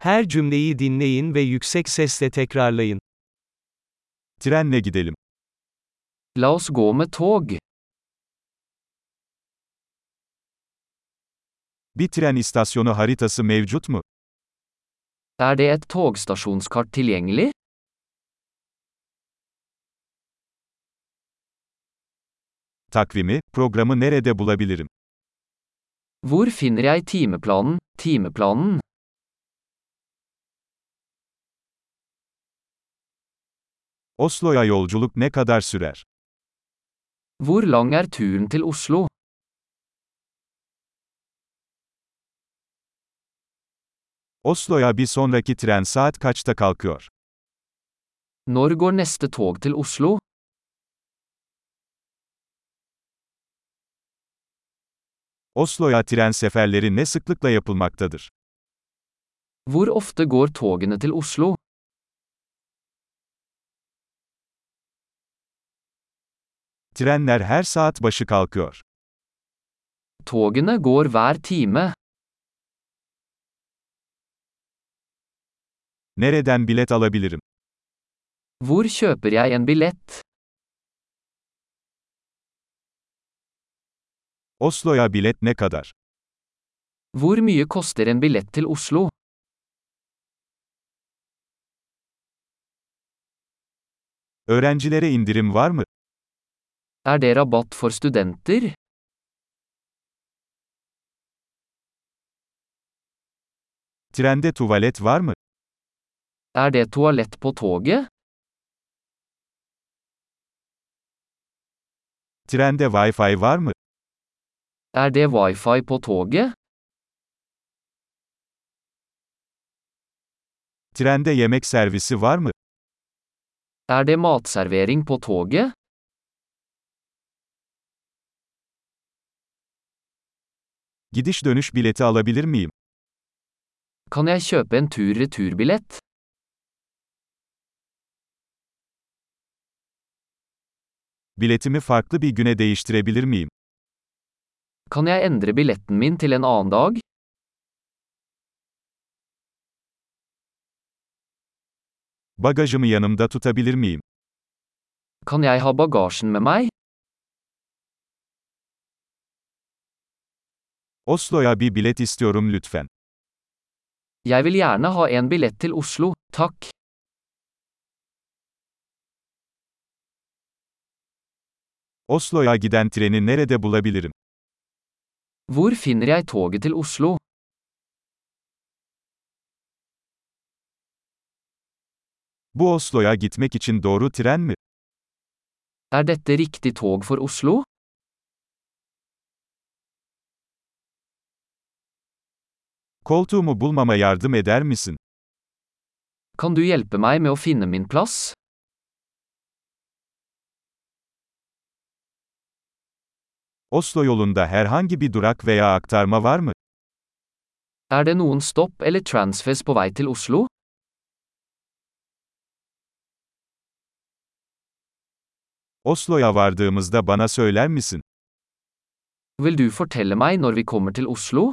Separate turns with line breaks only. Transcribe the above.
Her cümleyi dinleyin ve yüksek sesle tekrarlayın.
Trenle gidelim.
La oss gå med tog.
Bir tren istasyonu haritası mevcut mu?
Er det et togstasjonskart tilgjengelig?
Takvimi, programı nerede bulabilirim?
Hvor finner jeg timeplanen, timeplanen?
Oslo'ya yolculuk ne kadar sürer?
Hvor lang er turen til Oslo?
Oslo'ya bir sonraki tren saat kaçta kalkıyor?
Når går neste tog til Oslo?
Oslo'ya tren seferleri ne sıklıkla yapılmaktadır?
Hvor ofte går togene til Oslo?
Trenler her saat başı kalkıyor.
Togene går hver time.
Nereden bilet alabilirim?
Hvor kjøper jeg en billett?
Oslo'ya bilet ne kadar?
Hvor mye koster en billett til Oslo?
Öğrencilere indirim var mı?
Er det rabatt for studenter?
Trende tuvalet var mı?
Er det toalett på toget?
Trende Wi-Fi var mı?
Er det wifi på toget?
Trende yemek servisi var mı?
Er det matservering på toget?
Gidiş dönüş bileti alabilir miyim?
Kan jeg kjøpe en tur-returbillett?
Biletimi farklı bir güne değiştirebilir miyim?
Kan jeg endre billetten min til en annen dag?
Bagajımı yanımda tutabilir miyim?
Kan jeg ha bagasjen med meg?
Oslo'ya bir bilet istiyorum lütfen.
Jeg vil gjerne ha en billett til Oslo, takk.
Oslo'ya giden treni nerede bulabilirim?
Hvor finner jeg toget til Oslo?
Bu Oslo'ya gitmek için doğru tren mi?
Er dette riktig tog for Oslo?
Koltuğumu bulmama yardım eder misin?
Kan du hjelpe meg med å finne min plass?
Oslo yolunda herhangi bir durak veya aktarma var mı?
Er det noen stopp eller transfers på vei til Oslo?
Oslo'ya vardığımızda bana söyler misin?
Vil du fortelle meg når vi kommer til Oslo?